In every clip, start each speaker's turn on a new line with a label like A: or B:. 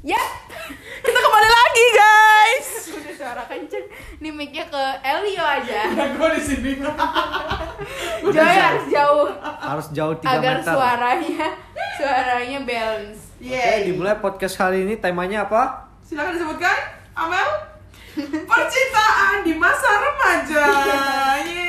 A: Ya,
B: Yap,
C: Kita kembali lagi guys.
B: udah suara kenceng. Nih mic-nya ke Elio aja.
A: Nah, gua di sini.
B: Joy harus jauh
D: harus jauh 3
B: agar
D: meter.
B: suaranya suaranya balance.
D: Oke,
C: Yeay.
D: dimulai podcast kali ini temanya apa?
A: Silakan disebutkan, Amel. Percintaan di masa remaja. Yeay.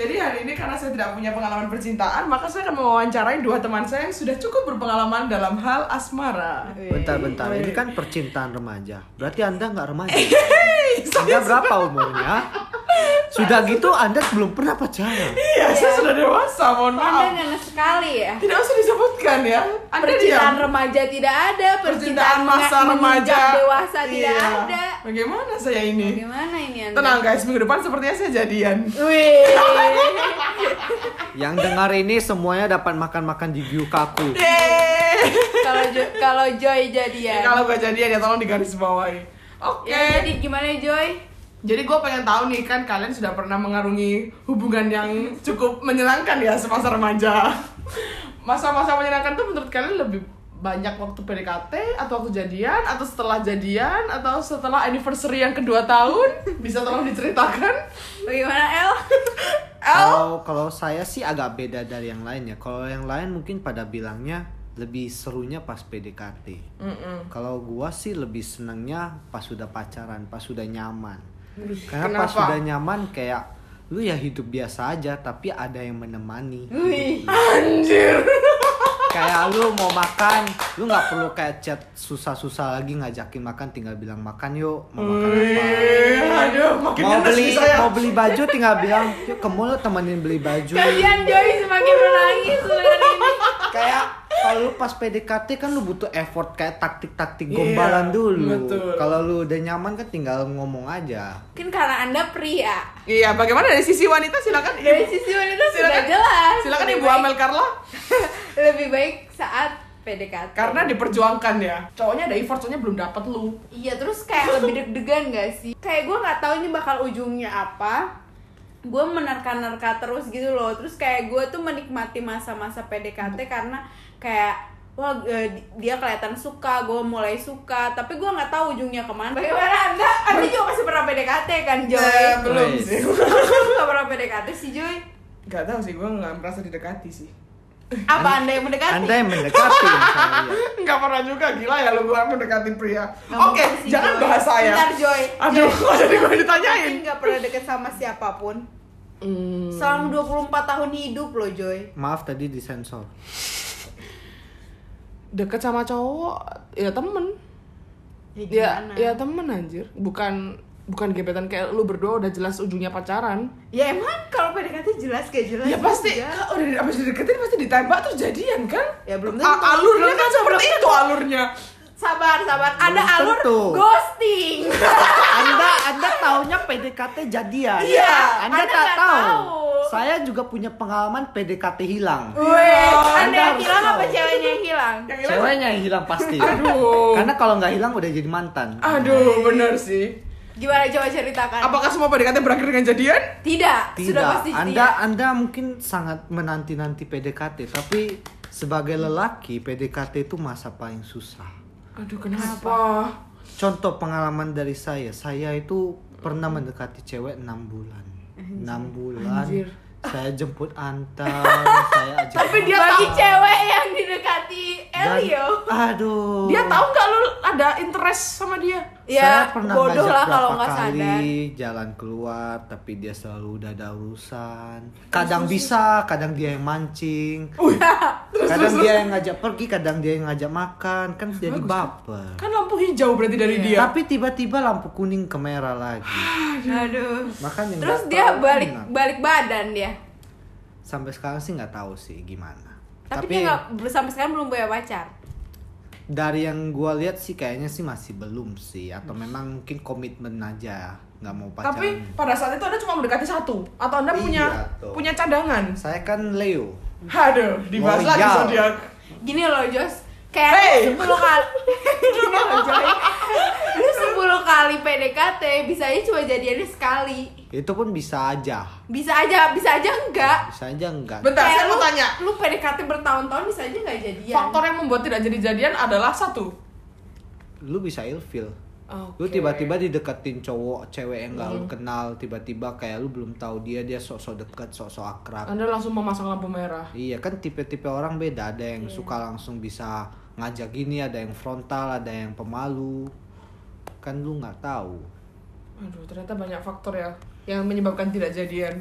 A: Jadi hari ini karena saya tidak punya pengalaman percintaan, maka saya akan mewawancarai dua teman saya yang sudah cukup berpengalaman dalam hal asmara.
B: Iya.
D: Bentar-bentar, ini kan percintaan remaja. Berarti anda nggak remaja.
A: Hei,
D: Anda
A: saya,
D: berapa umurnya? Sudah gitu anda belum pernah pacaran.
A: iya, saya sudah dewasa, mohon
B: Anda
A: maaf.
B: ngena sekali ya.
A: Tidak usah disebutkan ya. Anda
B: Percintaan
A: diam.
B: remaja tidak ada, percintaan
A: Percintaan masa
B: menga-
A: remaja.
B: menunjang dewasa tidak
A: Iya.
B: ada.
A: Bagaimana saya ini?
B: Gimana ini Anda?
A: Tenang guys, minggu depan sepertinya saya jadian.
B: Wih.
D: Yang dengar ini semuanya dapat makan-makan di view kaku.
A: Yeay.
B: Kalau Jo- kalau Joy jadian.
A: Kalau gak jadian ya tolong digaris bawahi. Oke.
B: Ya, Iya. jadi gimana Joy?
A: Jadi gue pengen tahu nih kan kalian sudah pernah mengarungi hubungan yang cukup menyenangkan ya semasa remaja. Masa-masa menyenangkan tuh menurut kalian lebih banyak waktu PDKT atau waktu jadian atau setelah jadian atau setelah anniversary yang kedua tahun bisa tolong diceritakan?
B: Bagaimana El?
A: L
D: Kalau kalau saya sih agak beda dari yang lain ya. Kalau yang lain mungkin pada bilangnya lebih serunya pas PDKT.
A: Mm-mm.
D: Kalau gua sih lebih senengnya pas sudah pacaran, pas sudah nyaman. Karena pas
A: kenapa?
D: sudah nyaman kayak lu ya hidup biasa aja tapi ada yang menemani.
B: Wih.
A: Anjir.
D: kayak lu mau makan, lu nggak perlu kayak chat susah-susah lagi ngajakin makan tinggal bilang makan yuk, mau makan apa.
A: Wih, aduh, makin
D: Mau
A: nenes nih
D: beli
A: saya.
D: mau beli baju tinggal bilang yuk ke mall temenin beli baju.
B: Kasihan Joy semakin menangis dengan ini.
D: kayak kalau lu pas PDKT kan lu butuh effort kayak taktik-taktik gombalan
A: Iya,
D: dulu.
A: betul.
D: Kalau lu udah nyaman kan tinggal ngomong aja.
B: Mungkin karena Anda pria.
A: Iya, bagaimana dari sisi wanita silakan
B: Dari
A: Ibu.
B: sisi wanita sudah
A: Silakan.
B: jelas.
A: Silakan
B: Lebih
A: Ibu
B: baik-
A: Amel Carla
B: Lebih baik saat PDKT.
A: karena diperjuangkan ya. Cowoknya ada effort, cowoknya belum dapat lu.
B: Iya terus kayak lebih deg-degan gak sih? Kayak gue nggak tahu ini bakal ujungnya apa. Gue menerka-nerka terus gitu loh. Terus kayak gue tuh menikmati masa-masa PDKT karena kayak wah eh, di- dia kelihatan suka, gue mulai suka. Tapi gue nggak tahu ujungnya kemana. Bagaimana anda? Anda juga masih pernah PDKT kan Joy?
A: Eh, belum
D: Wes.
A: sih.
B: Gak pernah PDKT sih Joy.
A: Gak tahu sih, gue gak merasa didekati sih
B: Apa anda yang mendekati?
D: Anda yang mendekati misalnya. iya.
A: Gak pernah juga, gila ya lu gue mendekati pria
B: Nggak
A: Oke,
B: mungkin sih,
A: jangan
B: Joy.
A: bahas saya
B: Bentar, Joy.
A: Aduh, kok jadi gue ditanyain
B: Anda nggak pernah deket sama siapapun.
A: Hmm,
B: Selama 24 tahun hidup loh Joy.
D: Maaf tadi disensor.
A: Deket sama cowok, ya temen Ya,
B: gimana?
A: ya temen anjir Bukan bukan gebetan kayak lu berdua udah jelas ujungnya pacaran
B: Ya emang kalau PDKT jelas kayak jelas.
A: Ya pasti,
B: juga.
A: kalau udah di- abis dideketin pasti ditembak terus jadian kan
B: Ya, belum tentu.
A: A- Alurnya kan seperti itu alurnya
B: Sabar, sabar. Ada
D: Belum
B: alur
D: tentu.
B: ghosting.
D: Anda Anda taunya PDKT jadian.
B: Iya,
D: Anda,
B: Anda
D: tak
B: nggak
D: tahu.
B: tahu.
D: Saya juga punya pengalaman PDKT hilang.
B: Weh,
D: Anda
B: Anda yang
D: harus
B: hilang apa
D: tahu.
B: ceweknya yang hilang?
A: Yang hilang-
D: Ceweknya yang hilang pasti.
A: Aduh.
D: Karena kalau nggak hilang udah jadi mantan.
A: Aduh, bener sih
B: Gimana coba ceritakan?
A: Apakah semua PDKT berakhir dengan jadian?
B: Tidak, sudah
D: Tidak.
B: pasti
A: ya?
D: Anda
B: tidak.
D: Anda mungkin sangat menanti-nanti PDKT, tapi sebagai lelaki PDKT itu masa paling susah.
A: Aduh kenapa?
D: Contoh pengalaman dari saya, saya itu pernah mendekati cewek 6 bulan. 6 bulan.
A: Anjir.
D: Saya jemput antar, saya ajak.
A: Tapi dia
B: Bagi
A: tahu.
B: cewek yang didekati
D: Dan-
B: Elio.
D: Aduh.
A: Dia tahu nggak lu ada interest sama dia?
B: Ya,
D: saya pernah
B: bodoh
D: ngajak
B: lah kalau
D: berapa
B: nggak
D: kali
B: sadar.
D: jalan keluar, tapi dia selalu udah ada urusan. Kadang bisa, kadang dia yang mancing. kadang dia yang ngajak pergi, kadang dia yang ngajak makan, kan jadi baper.
A: Kan lampu hijau berarti dari
B: Iya.
A: dia.
D: Tapi tiba-tiba lampu kuning ke merah lagi.
B: Aduh.
D: Makanya nggak
B: Terus
D: tahu
B: dia balik
D: kenapa.
B: balik badan dia.
D: sampai sekarang sih nggak tahu sih gimana.
B: Tapi, dia nggak sampai sekarang belum punya pacar.
D: dari yang gua lihat sih kayaknya sih masih belum sih atau
B: Hmm.
D: memang mungkin komitmen aja nggak mau pacaran.
A: Tapi pada saat itu anda cuma mendekati satu atau anda
D: Iya,
A: punya
D: tuh.
A: punya cadangan?
D: saya kan Leo.
A: Aduh, dibahas lagi
D: Loyal.
A: zodiak.
B: Gini loh Jos, kayak
A: Hey!
B: lu 10 kali Gini loh Joy
A: Iya.
B: Lu 10 kali PDKT bisa aja cuma jadiannya sekali
D: Itu pun bisa aja.
B: Bisa aja, bisa aja enggak
D: Bisa aja enggak.
A: Bentar,
B: Kayak
A: saya mau
B: lu-
A: tanya.
B: Lu PDKT bertahun-tahun bisa aja enggak jadian
A: Faktor yang membuat tidak jadi jadian adalah satu.
D: lu bisa ilfil
A: Oke. Hmm.
D: lu tiba-tiba dideketin cowok cewek yang gak lu kenal tiba-tiba kayak lu belum tahu dia dia sok-sok deket sok-sok akrab
A: Anda langsung memasang lampu merah.
D: Iya kan tipe-tipe orang beda, ada
A: Iya.
D: yang suka langsung bisa ngajak gini, ada yang frontal, ada yang pemalu. Kan lu nggak tahu.
A: Aduh, ternyata banyak faktor ya yang menyebabkan tidak jadian.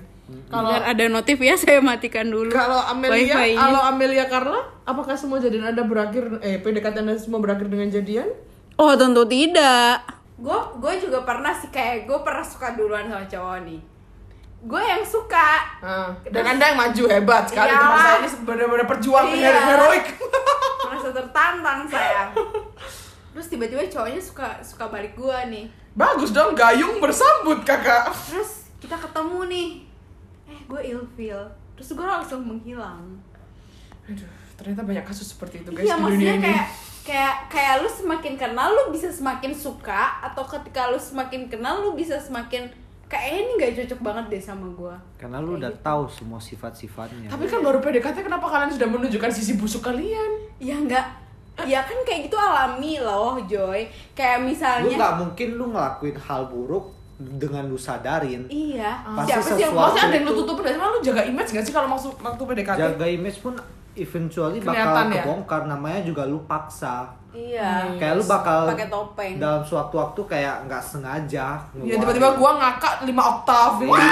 A: Kalau
B: Kalau ada notif ya saya matikan dulu.
A: kalau Amelia,
B: Wifi-nya.
A: kalau Amelia Carla, apakah semua jadian Anda berakhir eh PDKT Anda semua berakhir dengan jadian?
C: Oh tentu tidak.
B: gue gue juga pernah sih kayak gue pernah suka duluan sama cowok nih gue yang suka
A: Ah, dan Anda yang maju hebat
B: Iya.
A: sekali teman saya ini benar-benar perjuang
B: Iya.
A: hero- heroik.
B: merasa tertantang saya terus tiba-tiba cowoknya suka suka balik gue nih
A: Bagus dong, gayung bersambut kakak.
B: terus kita ketemu nih eh gue ilfil terus gue langsung menghilang
A: Aduh, ternyata banyak kasus seperti itu guys
B: iya
A: di dunia
B: maksudnya
A: ini.
B: kayak kayak kayak lu semakin kenal lu bisa semakin suka atau ketika lu semakin kenal lu bisa semakin kayaknya ini nggak cocok banget deh sama gue
D: Karena lu udah tahu semua sifat-sifatnya.
A: gitu. Tapi kan baru PDKT kenapa kalian sudah menunjukkan sisi busuk kalian?
B: ya nggak ya kan kayak gitu alami loh Joy kayak
D: lu
B: misalnya
D: nggak mungkin lu ngelakuin hal buruk dengan lu sadarin.
B: Iya.
D: Pasti
B: Siapa sih yang maksudnya
D: sesuatu-
A: Maksudnya ada yang lu tutupin dari mana lu jaga image gak sih kalau maksud waktu PDKT?
D: Jaga image pun eventually bakal
A: Kelihatan ya?
D: kebongkar namanya juga lu paksa.
B: Iya.
D: Kayak lu bakal
B: Pakai topeng.
D: dalam suatu waktu kayak nggak sengaja.
A: Ya
D: ngeluarin.
A: tiba-tiba gua ngakak 5 oktav.
D: Iya.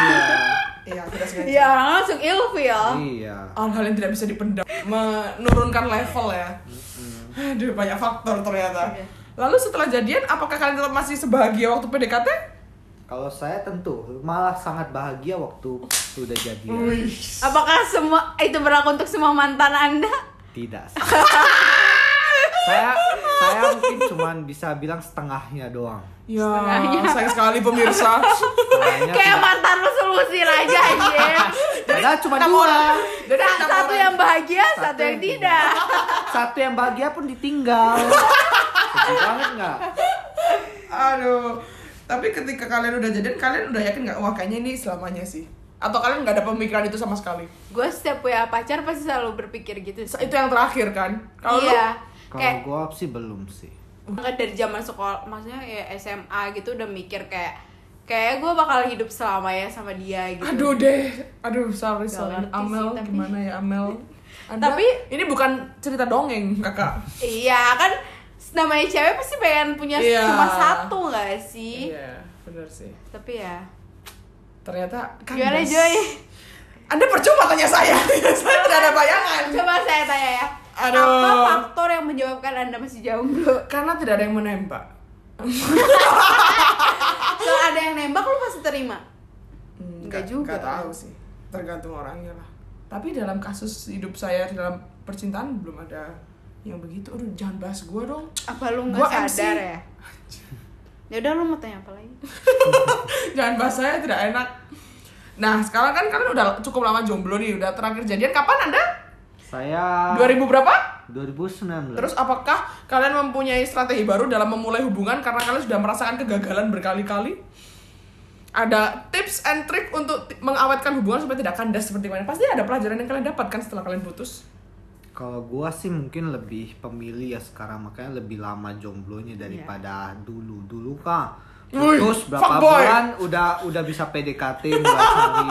A: Iya, tidak sengaja.
B: Iya, orang langsung ilfil.
D: Iya.
A: hal-hal yang tidak bisa dipendam menurunkan level ya aduh banyak faktor ternyata
B: Iya.
A: lalu setelah jadian apakah kalian tetap masih sebahagia waktu PDKT?
D: Kalau saya tentu malah sangat bahagia waktu sudah jadian.
A: Wih.
B: Apakah semua itu berlaku untuk semua mantan Anda?
D: Tidak. sih. saya saya mungkin cuman bisa bilang setengahnya doang.
A: ya sayang sekali pemirsa
D: Setengahnya
B: Kayak
D: tidak.
B: mantan lu selusir aja anjir.
D: Padahal cuma
A: Enam
D: dua.
A: orang. Jadi
B: Sa-
A: enam
B: satu
A: orang.
B: yang bahagia, satu,
D: Satu
B: yang
D: yang
B: tidak.
D: Satu yang bahagia pun ditinggal. Sedih banget nggak?
A: aduh tapi ketika kalian udah jadian kalian udah yakin nggak wah kayaknya ini selamanya sih atau kalian nggak ada pemikiran itu sama sekali
B: Gue setiap punya pacar pasti selalu berpikir gitu.
A: Sa- itu yang terakhir kan kalau lu-
B: iya.
D: Kalau
B: Kayak
D: gua sih belum sih.
B: Enggak dari zaman sekolah, maksudnya ya SMA gitu udah mikir kayak kayak gue bakal hidup selamanya sama dia gitu.
A: Aduh deh, aduh sorry
B: Gak
A: sorry
B: ngerti sih,
A: Amel
B: tapi-
A: gimana ya Amel?
B: Tapi-
A: ini bukan cerita dongeng kakak.
B: Iya kan namanya cewek pasti pengen punya
A: Iya.
B: cuma satu gak sih?
A: Iya benar sih.
B: Tapi ya
A: Ternyata kan
B: gimana
A: Bas-
B: Joy?
A: Anda percuma tanya saya, saya tidak ada bayangan.
B: Coba saya tanya ya.
A: Aduh.
B: Apa faktor yang menyebabkan Anda masih jomblo?
A: Karena tidak ada yang menembak.
B: Kalau ada yang nembak lu pasti terima. Enggak juga.
A: Gak Hmm, tahu sih, tergantung orangnya lah. Tapi dalam kasus hidup saya dalam percintaan belum ada yang begitu. Aduh jangan bahas gue dong.
B: Apa lu
A: Gua
B: nggak sadar
A: MC.
B: ya? Ya udah lu mau tanya apa lagi?
A: jangan bahas saya tidak enak. Nah sekarang kan kalian udah cukup lama jomblo nih, udah terakhir jadian kapan anda?
B: Ah.
D: Saya
A: 2000 berapa?
D: 2019.
A: Terus apakah kalian mempunyai strategi baru dalam memulai hubungan karena kalian sudah merasakan kegagalan berkali-kali? Ada tips and trick untuk ti- mengawetkan hubungan supaya tidak kandas seperti mana? Pasti ada pelajaran yang kalian dapatkan setelah kalian putus.
D: Kalau gua sih mungkin lebih pemilih ya sekarang makanya lebih lama jomblonya daripada dulu. Dulu kah
A: Wih,
D: putus berapa
A: fuckboy.
D: bulan udah udah bisa PDKT mulai cari.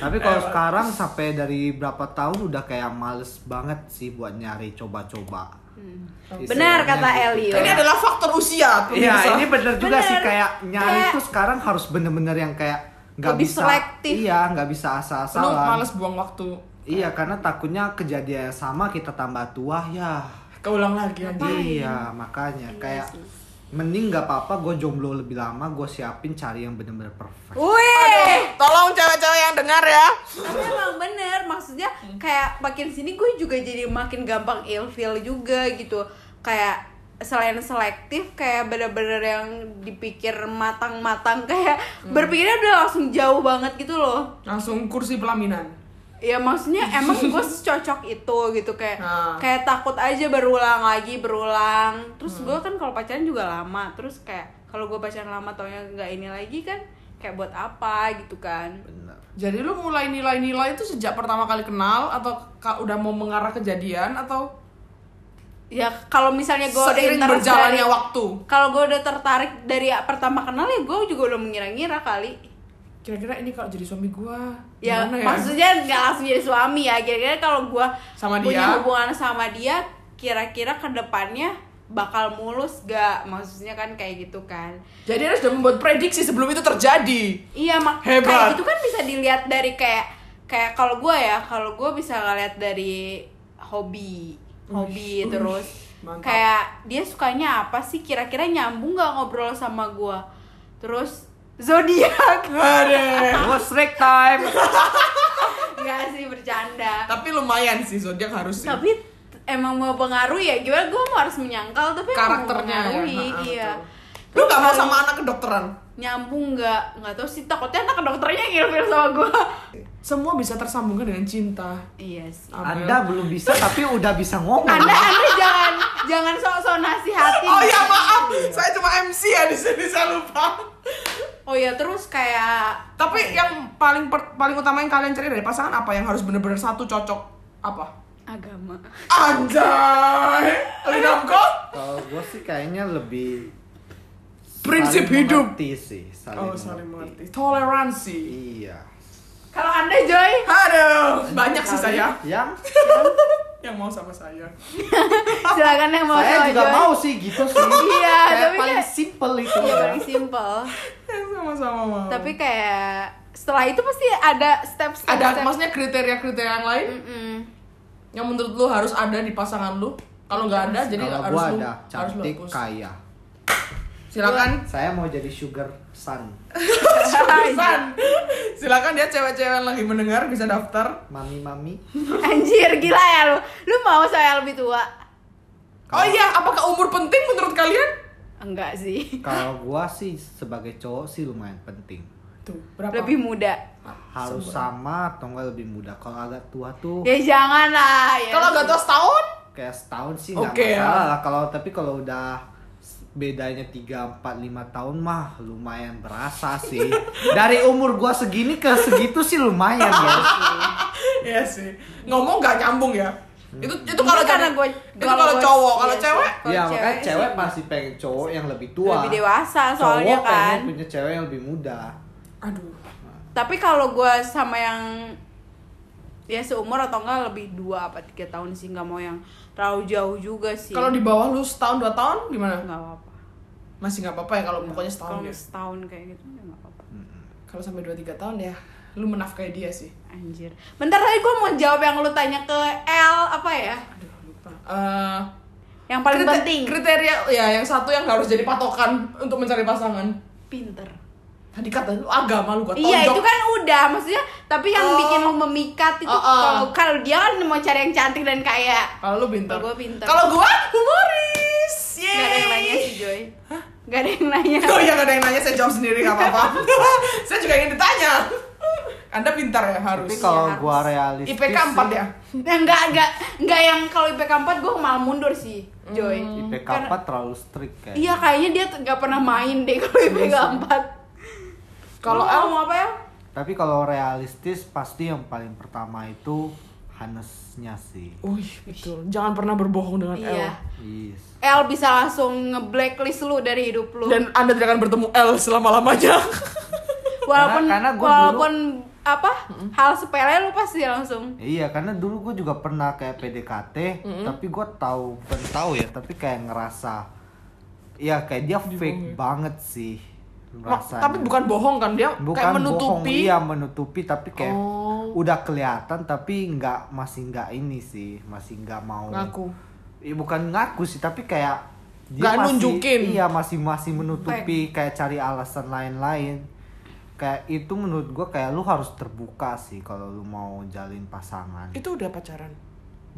D: Tapi kalau sekarang sampai dari berapa tahun udah kayak males banget sih buat nyari coba-coba. Istilahnya
B: Benar kata
D: gitu.
B: Eli.
A: Ini adalah faktor usia.
D: Iya,
A: pemirsa.
D: ini bener juga
B: Bener.
D: sih kayak nyari
B: Kayak-
D: tuh sekarang harus bener-bener yang kayak nggak
B: Lebih
D: bisa
B: selektif.
D: iya nggak bisa
A: Lu
D: asal-asalan
A: males buang waktu.
D: iya karena takutnya kejadian yang sama kita tambah tua ya
A: Keulang lagi anjir.
D: Iya, makanya kayak mending nggak apa-apa gue jomblo lebih lama gue siapin cari yang bener-bener perfect.
B: Wih!
A: Eh, Tolong cewek-cewek yang dengar ya.
B: Tapi emang bener, maksudnya kayak makin sini gue juga jadi makin gampang ilfeel juga gitu Kayak selain selektif kayak bener-bener yang dipikir matang-matang Kayak berpikirnya udah langsung jauh banget gitu loh
A: Langsung kursi pelaminan.
B: Ya maksudnya emang gue cocok itu gitu kayak
A: Nah.
B: kayak takut aja berulang lagi berulang Terus gue kan kalau pacaran juga lama Terus kayak kalau gue pacaran lama taunya nggak ini lagi kan kayak buat apa gitu kan
D: Bener.
A: Jadi lu mulai nilai-nilai itu sejak pertama kali kenal atau ka- udah mau mengarah kejadian atau
B: ya kalau misalnya gue udah
A: Seiring
B: tertarik
A: berjalannya
B: dari-
A: waktu.
B: kalau gue udah tertarik dari pertama kenal ya gue juga udah mengira-ngira kali
A: Kira-kira ini kalau jadi suami gua
B: ya
A: gimana
B: maksudnya nggak langsung jadi suami ya kira-kira kalau gue
A: Sama
B: punya
A: dia?
B: hubungan sama dia kira-kira kedepannya bakal mulus gak maksudnya kan kayak gitu kan
A: Jadi harus udah membuat prediksi sebelum itu terjadi.
B: Iya mak
A: Hebat.
B: kayak gitu kan bisa dilihat dari kayak kayak kalau gue ya kalau gue bisa ngeliat dari hobi hobi
A: Ush,
B: terus
A: ush, mantap.
B: kayak dia sukanya apa sih kira-kira nyambung nggak ngobrol sama gue terus zodiak
A: Ada.
D: Wah, snack time.
B: nggak sih bercanda
A: Tapi lumayan sih zodiak harus sih.
B: tapi t- emang mau pengaruh ya gimana gue mau harus menyangkal tapi emang mau
A: Karakternya ya,
B: pengaruhi,
A: ha, ha,
B: iya
A: Lu gak mau sama anak kedokteran?
B: nyambung nggak nggak tau sih takutnya anak dokternya ilfil sama gue
A: Semua bisa tersambungkan dengan cinta.
B: iya sih
A: Abel.
D: Anda belum bisa tapi udah bisa ngomong.
B: Anda Anda jangan jangan sok-sok nasihati.
A: Oh ya maaf, saya cuma MC ya di sini saya lupa.
B: Oh ya terus kayak
A: Tapi yang paling per- paling utama yang kalian cari dari pasangan apa yang harus bener-bener satu cocok apa?
B: agama.
A: Anjay, Linam kok?
D: Kalau gue sih kayaknya lebih
A: Prinsip
D: saling
A: hidup.
D: mengerti sih, saling
A: Oh saling mengerti.
D: mengerti.
A: Toleransi.
D: Iya.
B: Kalau Anda Joy
A: Aduh, banyak sih saya
D: Yang
A: yang mau sama saya.
B: silakan yang mau
D: saya
B: sama
D: juga
B: Joy.
D: mau sih gitu sih.
B: Iya,
D: Kayak
A: kan
B: tapi
D: paling
B: kayak-
D: simple itu.
B: Iya,
D: ya.
B: paling simple.
A: Yang sama-sama mau.
B: Tapi kayak setelah itu pasti ada step step.
A: ada
B: step.
A: maksudnya kriteria-kriteria yang lain
B: Mm-mm.
A: yang menurut lu harus ada di pasangan lu. Kalau nggak ada, jadi
D: Kalau
A: harus
D: gue
A: lu
D: ada
A: harus lu
D: cantik
A: hapus.
D: kaya.
A: Silakan.
D: Saya mau jadi sugar sun.
A: San. Silakan dia cewek-cewek yang lagi mendengar bisa daftar.
D: Mami-mami.
B: Anjir gila ya lu. Lu mau saya lebih tua?
A: Oh iya, apakah umur penting menurut kalian?
B: Enggak sih.
D: Kalau gua sih sebagai cowok sih lumayan penting.
A: Tuh, berapa?
B: Lebih muda.
D: Harus sama atau enggak lebih muda. Kalau agak tua tuh
A: Iya.
B: Ya jangan lah ya.
A: Kalau nggak tua setahun?
D: kayak setahun sih nggak
A: Oke, ya.
D: masalah lah. Kalau tapi kalau udah bedanya 3, 4, 5 tahun mah lumayan berasa sih. Dari umur gua segini ke segitu sih lumayan ya. guys.
A: Iya sih. Ngomong nggak nyambung ya. Itu itu kalau
B: Ini karena
A: jadi-
B: gua
A: itu kalau
B: gua-
A: cowok,
B: iya
A: kalau
B: sih.
A: cewek
B: Kalau
D: ya makanya
B: sih
D: cewek pasti pengen cowok yang lebih tua.
B: Lebih dewasa soalnya
D: cowok
B: kan.
D: pengen punya cewek yang lebih muda.
A: aduh.
B: tapi kalau gue sama yang ya seumur atau enggak lebih dua apa tiga tahun sih nggak mau yang terlalu jauh juga sih
A: Kalau di bawah lu setahun dua tahun gimana?
B: nggak apa-apa
A: Masih nggak apa-apa ya kalau pokoknya setahun
B: kalau
A: ya.
B: setahun kayak gitu ya nggak apa-apa
A: Kalau sampai dua tiga tahun ya lu menafkahi dia sih.
B: anjir bentar tadi gue mau jawab yang lu tanya ke L apa ya
A: Aduh, lupa. Eh,
B: yang paling
A: krite-
B: penting
A: kriteria ya yang satu yang harus jadi patokan untuk mencari pasangan.
B: pinter
A: Tadi kata lu agama lu gua tonjok.
B: iya itu kan udah maksudnya tapi yang
A: Oh.
B: bikin lo memikat itu
A: Oh, oh.
B: kalau kalau dia kan mau cari yang cantik dan kaya
A: Kalau lu pintar.
B: Kalau gua pintar.
A: Kalau gua humoris.
B: nggak ada yang nanya
A: Yeay.
B: sih Joy nggak ada yang nanya
A: Oh iya gak ada yang nanya, saya jawab sendiri gak apa-apa Saya juga ingin ditanya Anda pintar ya harus
D: Tapi kalau
B: harus.
D: gua realistis
A: IPK 4
D: sih,
A: ya?
B: Nah, enggak, enggak, enggak yang kalau IPK 4 gue malah mundur sih, Joy.
A: Hmm.
D: IPK
B: Karena-
D: 4 terlalu strict kayak.
B: Iya, kayaknya dia tuh nggak pernah main deh kalau IPK 4.
A: Kalau
B: Lu
A: L
B: mau apa ya?
D: Tapi kalau realistis pasti yang paling pertama itu Hanesnya sih.
A: Wih, betul. Jangan pernah berbohong dengan
B: Iya.
A: L
D: Yes.
B: L bisa langsung nge-blacklist lu dari hidup lu.
A: Dan Anda tidak akan bertemu L selama-lamanya
B: walaupun
D: Karena- karena gua
B: walaupun apa? Hal sepele lu pasti langsung.
D: Iya, karena dulu gue juga pernah kayak PDKT, tapi gue tahu bukan tahu ya, tapi kayak ngerasa ya kayak dia fake banget sih
A: Mak-
D: rasanya.
A: Tapi bukan bohong kan, dia
D: Bukan
A: kayak menutupi
D: bohong, iya menutupi tapi kayak
A: Oh.
D: udah kelihatan tapi nggak masih nggak ini sih, masih nggak mau
A: Ngaku
D: Iya bukan ngaku sih tapi kayak
A: Nggak nunjukin.
D: iya masih masih menutupi kayak cari alasan lain-lain kayak itu menurut gua kayak lu harus terbuka sih kalau lu mau jalin pasangan
A: Itu udah pacaran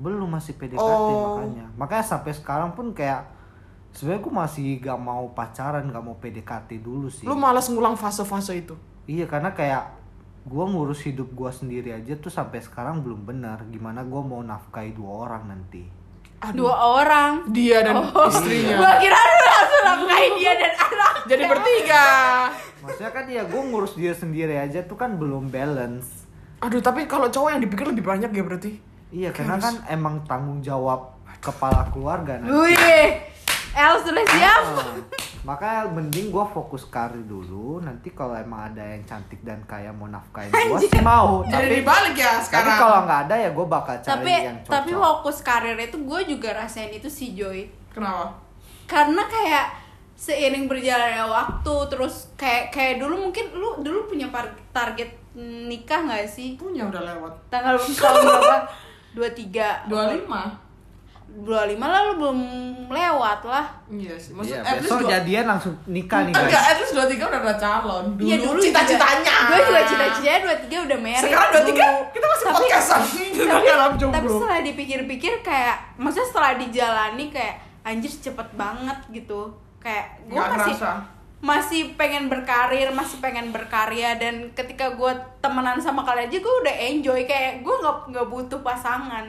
D: belum masih PDKT
A: Oh.
D: makanya makanya sampai sekarang pun kayak sebenarnya gua masih gak mau pacaran gak mau PDKT dulu sih
A: Lu malas ngulang fase-fase itu
D: iya karena kayak gua ngurus hidup gua sendiri aja tuh sampai sekarang belum benar gimana gua mau nafkahi dua orang nanti
B: Dua orang. Oh,
A: Dia dan istrinya
B: Gua kira lu langsung nafkahin dia dan anak.
A: Jadi bertiga
D: Maksudnya kan ya gue ngurus dia sendiri aja tuh kan belum balance.
A: Aduh, tapi kalau cowok yang dipikir lebih banyak ya berarti
D: Iya karena kan emang tanggung jawab kepala keluarga nanti.
B: Wih, El sudah
A: ya?
B: siap.
D: Ah, Makanya mending gua fokus karir dulu. Nanti kalau emang ada yang cantik dan kaya mau nafkain gua sih mau.
A: Jadi
D: Tapi,
A: dibalik ya
D: tapi
A: sekarang.
D: kalau nggak ada ya gua bakal cari
B: tapi
D: yang cocok.
B: tapi fokus karir itu gue juga rasain itu si Joy.
A: Kenapa?
B: Karena kayak seiring berjalannya waktu terus kayak kayak dulu mungkin lu dulu punya par- target nikah nggak sih?
A: Punya udah lewat.
B: Tanggal tahun berapa? 23
A: 25.
B: 25 lah lu belum lewat lah.
A: Iya sih. Maksud,
D: Iya,
A: at least
D: besok
A: dua-
D: jadian langsung nikah nih guys.
A: Enggak, at least 23 udah ada calon. Dulu,
B: Iya,
A: cita-citanya.
B: Gue juga cita-citanya 23 udah married.
A: Sekarang 23
B: dulu.
A: kita masih
B: Tapi-
A: podcastan. Dengan dalam jomblo.
B: tapi setelah dipikir-pikir kayak maksudnya setelah dijalani kayak anjir cepet banget gitu kayak gue
A: Nggak
B: masih
A: kerasa.
B: masih pengen berkarir masih pengen berkarya dan ketika gue temenan sama kalian aja gue udah enjoy kayak gue nggak nggak butuh pasangan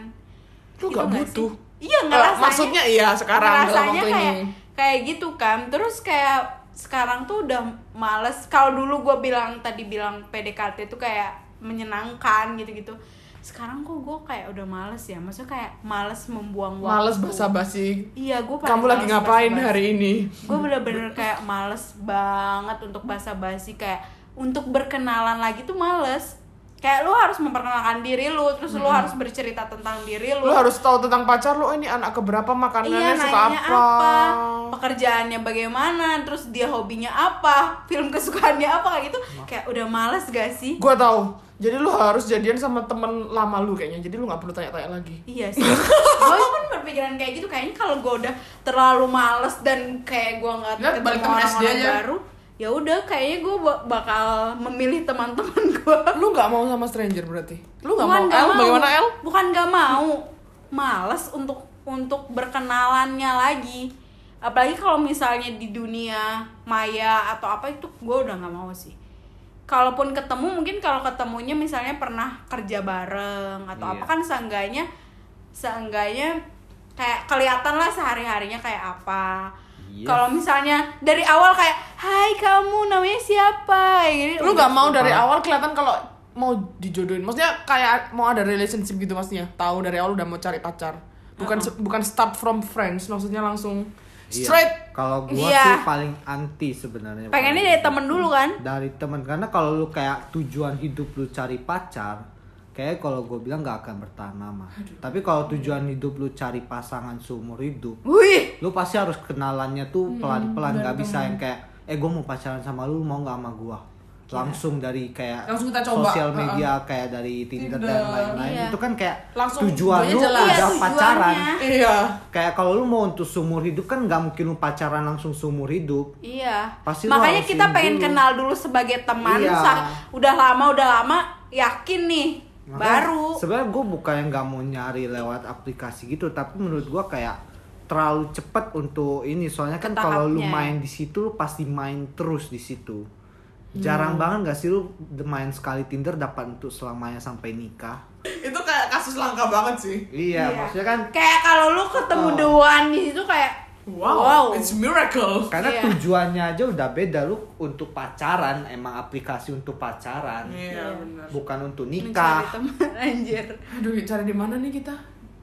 A: Lu
B: Gitu
A: nggak
B: nggak
A: butuh?
B: sih? iya
A: Eh,
B: ngerasanya
A: maksudnya iya sekarang dalam
B: rasanya
A: waktu
B: kayak
A: ini.
B: kayak gitu kan terus kayak sekarang tuh udah males kalau dulu gue bilang tadi bilang PDKT itu kayak menyenangkan gitu-gitu sekarang kok gue kayak udah males ya maksudnya kayak males membuang waktu
A: Males basa-basi.
B: iya gue
A: Kamu lagi ngapain hari ini?
B: gue bener-bener kayak males banget untuk basa-basi kayak untuk berkenalan lagi tuh males kayak lu harus memperkenalkan diri lu terus lu harus bercerita tentang diri lu
A: Lu harus tahu tentang pacar lu, oh, ini anak keberapa, makanannya
B: Iya,
A: suka
B: nanyanya
A: apa.
B: pekerjaannya bagaimana, terus dia hobinya apa, film kesukaannya apa kayak gitu, kayak udah males gak sih?
A: Gua tahu. Jadi lu harus jadian sama temen lama lu kayaknya. Jadi lu nggak perlu tanya-tanya lagi.
B: Iya sih, gue pun berpikiran kayak gitu, kayaknya kalau gue udah terlalu males dan kayak gue nggak
A: Lihat, Iya, balik
B: ketemu
A: temen SD
B: orang-orang
A: aja.
B: baru, ya udah kayaknya gue bakal memilih teman-teman gue.
A: Lu nggak mau sama stranger berarti? Lu
B: Bukan
A: nggak mau
B: nggak
A: El? Bagaimana El?
B: Bukan gak mau, males untuk untuk berkenalannya lagi. Apalagi kalau misalnya di dunia maya atau apa itu gue udah nggak mau sih. Kalaupun ketemu mungkin kalau ketemunya misalnya pernah kerja bareng atau
D: Iya.
B: apa kan seenggaknya seenggaknya kayak kelihatan lah sehari harinya kayak apa.
D: Iya.
B: Kalau misalnya dari awal kayak Hai kamu namanya siapa? Kayak gitu.
A: Lu nggak mau dari
D: Parah.
A: awal kelihatan kalau mau dijodohin. Maksudnya kayak mau ada relationship gitu maksudnya. Tahu dari awal udah mau cari pacar. Bukan bukan start from friends, maksudnya langsung
D: Iya.
A: straight.
D: Kalau gua
B: Iya.
D: sih paling anti sebenarnya.
B: pengennya dari temen dulu kan?
D: dari teman karena kalau lu kayak tujuan hidup lu cari pacar kayak kalau gue bilang nggak akan bertahan lama tapi kalau tujuan hidup lu cari pasangan seumur hidup
B: Wih,
D: lu pasti harus kenalannya tuh pelan pelan nggak bisa yang kayak eh gue mau pacaran sama lu mau nggak sama gue langsung dari kayak
A: Langsung kita coba.
D: sosial media kayak dari tinder, dan
A: Tinder.
D: lain-lain
B: Iya.
D: itu kan kayak
A: Langsung
D: tujuan
A: tujuannya
D: lu
A: jelas.
B: Iya,
D: udah
B: tujuannya.
D: pacaran
A: Iya.
D: kayak kalau lu mau untuk seumur hidup kan nggak mungkin lu pacaran langsung seumur hidup
B: Iya.
D: Pasti lu
B: Makanya
D: harus
B: kita
D: ini
B: pengen
D: dulu.
B: kenal dulu sebagai teman.
D: Iya.
B: sa- udah lama, udah lama, yakin nih, baru.
D: sebenarnya gue bukan yang nggak mau nyari lewat aplikasi gitu tapi menurut gue kayak terlalu cepat untuk ini soalnya kan
B: Ke
D: kalau lu
B: tahapnya.
D: main di situ lu pasti main terus di situ jarang banget gak sih lu main sekali Tinder dapat untuk selamanya sampai nikah
A: Itu kayak kasus langka banget sih.
D: iya, maksudnya kan
B: Kayak kalau lu ketemu
D: Oh.
B: doan di situ kayak
A: Wow, it's miracle.
D: karena
B: Iya.
D: tujuannya aja udah beda lu untuk pacaran emang aplikasi untuk pacaran
A: Iya, benar.
D: bukan untuk
B: Mencari
D: nikah
B: teman anjir.
A: Aduh, cari di mana nih kita?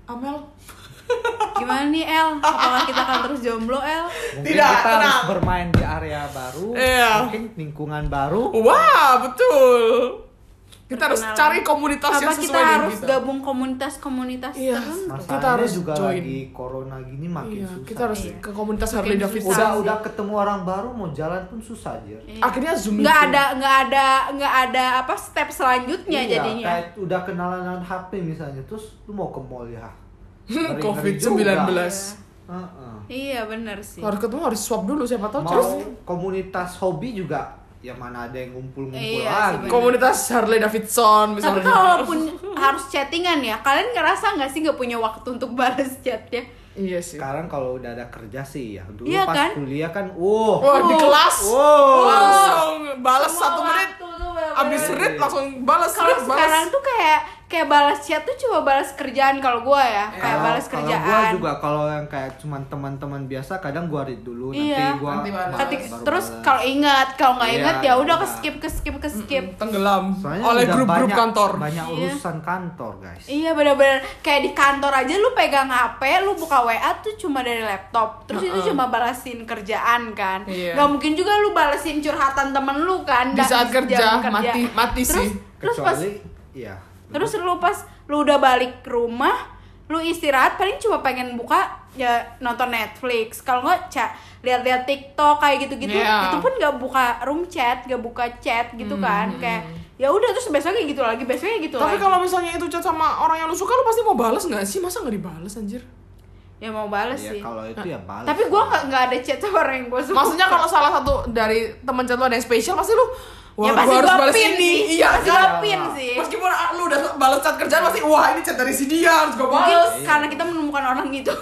A: Amel.
B: Gimana nih El? Apakah kita akan terus jomblo El?
D: mungkin
A: Tidak,
D: kita harus
A: tenang.
D: bermain di area baru
A: Iya.
D: mungkin lingkungan baru
A: Wah, betul. Kita harus
B: Perkenalan.
A: cari komunitas yang
B: Apa
A: sesuai
B: kita
A: dengan
B: harus
A: kita.
B: gabung komunitas-komunitas
A: Iya.
B: tertentu?
D: Masalahnya
A: Kita harus
D: juga
A: join.
D: lagi corona gini makin
A: Iya,
D: susah.
A: kita harus
B: Iya.
A: ke komunitas Harley
B: Makin
A: Davidson.
B: susah.
D: udah udah ketemu orang baru mau jalan pun susah aja.
B: Iya.
A: Akhirnya Zoom
B: nggak
A: meeting.
B: ada nggak ada nggak ada apa step selanjutnya Iya, jadinya
D: Iya, Kayak udah kenalan dengan HP misalnya, terus lu mau ke mall ya. Ngeri-ngeri
A: Covid-19.
B: juga.
D: juga. Heeh.
B: iya bener sih
A: Harus ketemu harus swab dulu siapa tahu
D: Mau
A: terus
D: komunitas hobi juga, ya mana ada yang ngumpul-ngumpul
B: Iya sih,
D: lagi.
B: bener.
A: komunitas Harley Davidson
B: Tapi
A: misalnya.
B: kalaupun harus chattingan ya, kalian ngerasa nggak sih nggak punya waktu untuk balas chatnya?
A: Iya sih.
D: Sekarang kalau udah ada kerja sih ya. Dulu
B: Iya
D: pas
B: kan?
D: kuliah kan, wow.
A: Wah, di
B: Wow.
A: kelas.
D: Wow.
A: Langsung balas
B: Semua
A: satu menit.
B: waktu tuh bener-bener-
A: Abis read langsung balas
B: Iya. Kalau
A: read, balas.
B: sekarang tuh kayak kayak balas chat tuh cuma balas kerjaan kalau gue ya kayak
D: Kalau-
B: balas
D: Iya, kalau
B: kerjaan
D: gua juga kalau yang kayak cuman teman-teman biasa kadang gua read dulu
B: Iya.
D: nanti gua
A: Nanti balas.
D: balas,
B: Ketik-
D: baru
B: terus
D: balas.
B: kalau ingat kalau nggak
D: Iya,
B: ingat ya udah ke
D: iya.
B: skip ke skip ke skip
A: tenggelam
D: Soalnya
A: oleh
D: udah
A: grup-grup
D: banyak-
A: kantor.
D: banyak
B: Iya.
D: urusan kantor guys
B: Iya bener-bener kayak di kantor aja lu pegang HP, lu buka WA tuh cuma dari laptop. Terus itu cuma balasin kerjaan kan.
A: Iya.
B: Gak mungkin juga lu balasin curhatan temen lu kan.
A: Di
B: nggak
A: saat
B: jam
A: kerja, mati- mati
B: terus,
A: sih.
B: Terus pas
D: kecuali iya
B: terus lu pas lu udah balik ke rumah, lu istirahat paling cuma pengen buka ya nonton Netflix. Kalau nggak chat lihat-lihat TikTok kayak gitu-gitu.
A: Iya.
B: Itu pun nggak buka room chat, nggak buka chat gitu kan. Kayak ya udah terus besoknya gitu lagi, besoknya gitu
A: Hmm. Tapi
B: lagi.
A: kalau misalnya itu chat sama orang yang lu suka, lu pasti mau balas nggak sih? Masa nggak dibales anjir?
B: ya mau bales
D: Iya,
B: sih.
D: kalau itu ya balas
B: Tapi gue nggak nggak ada chat sama orang yang gue suka.
A: Maksudnya kalau salah satu dari temen chat lu ada yang spesial, pasti lu Wah,
B: ya
A: gua
B: pasti
A: harus
B: gue
A: balas
B: pin
A: ini.
B: sih.
A: Iya,
B: pasti
A: kan?
B: gue pin sih.
A: Meskipun ah, lu udah balas chat kerjaan pasti wah ini chat dari si dia harus gue
B: Mungkin
A: balas.
B: karena kita menemukan orang gitu.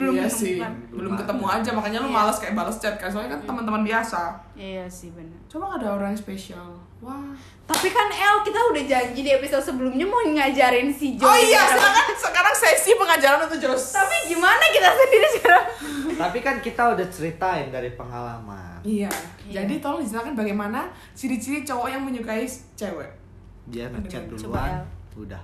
B: Belum
A: iya
B: menemukan.
A: sih, belum
D: Belum
A: ketemu aja makanya lu
B: Iya.
A: malas kayak balas chat kan soalnya kan teman-teman biasa.
B: Iya sih benar.
A: Coba ada orang yang spesial. Wah.
B: Tapi kan El kita udah janji di episode sebelumnya mau ngajarin si Jo.
A: Oh iya, sekarang sekarang sesi pengajaran untuk Jos.
B: Tapi gimana kita sendiri sekarang?
D: tapi kan kita udah ceritain dari pengalaman
A: Iya. Jadi tolong dijelaskan bagaimana ciri-ciri cowok yang menyukai cewek.
D: dia ngechat
A: Coba,
B: ya.
D: duluan udah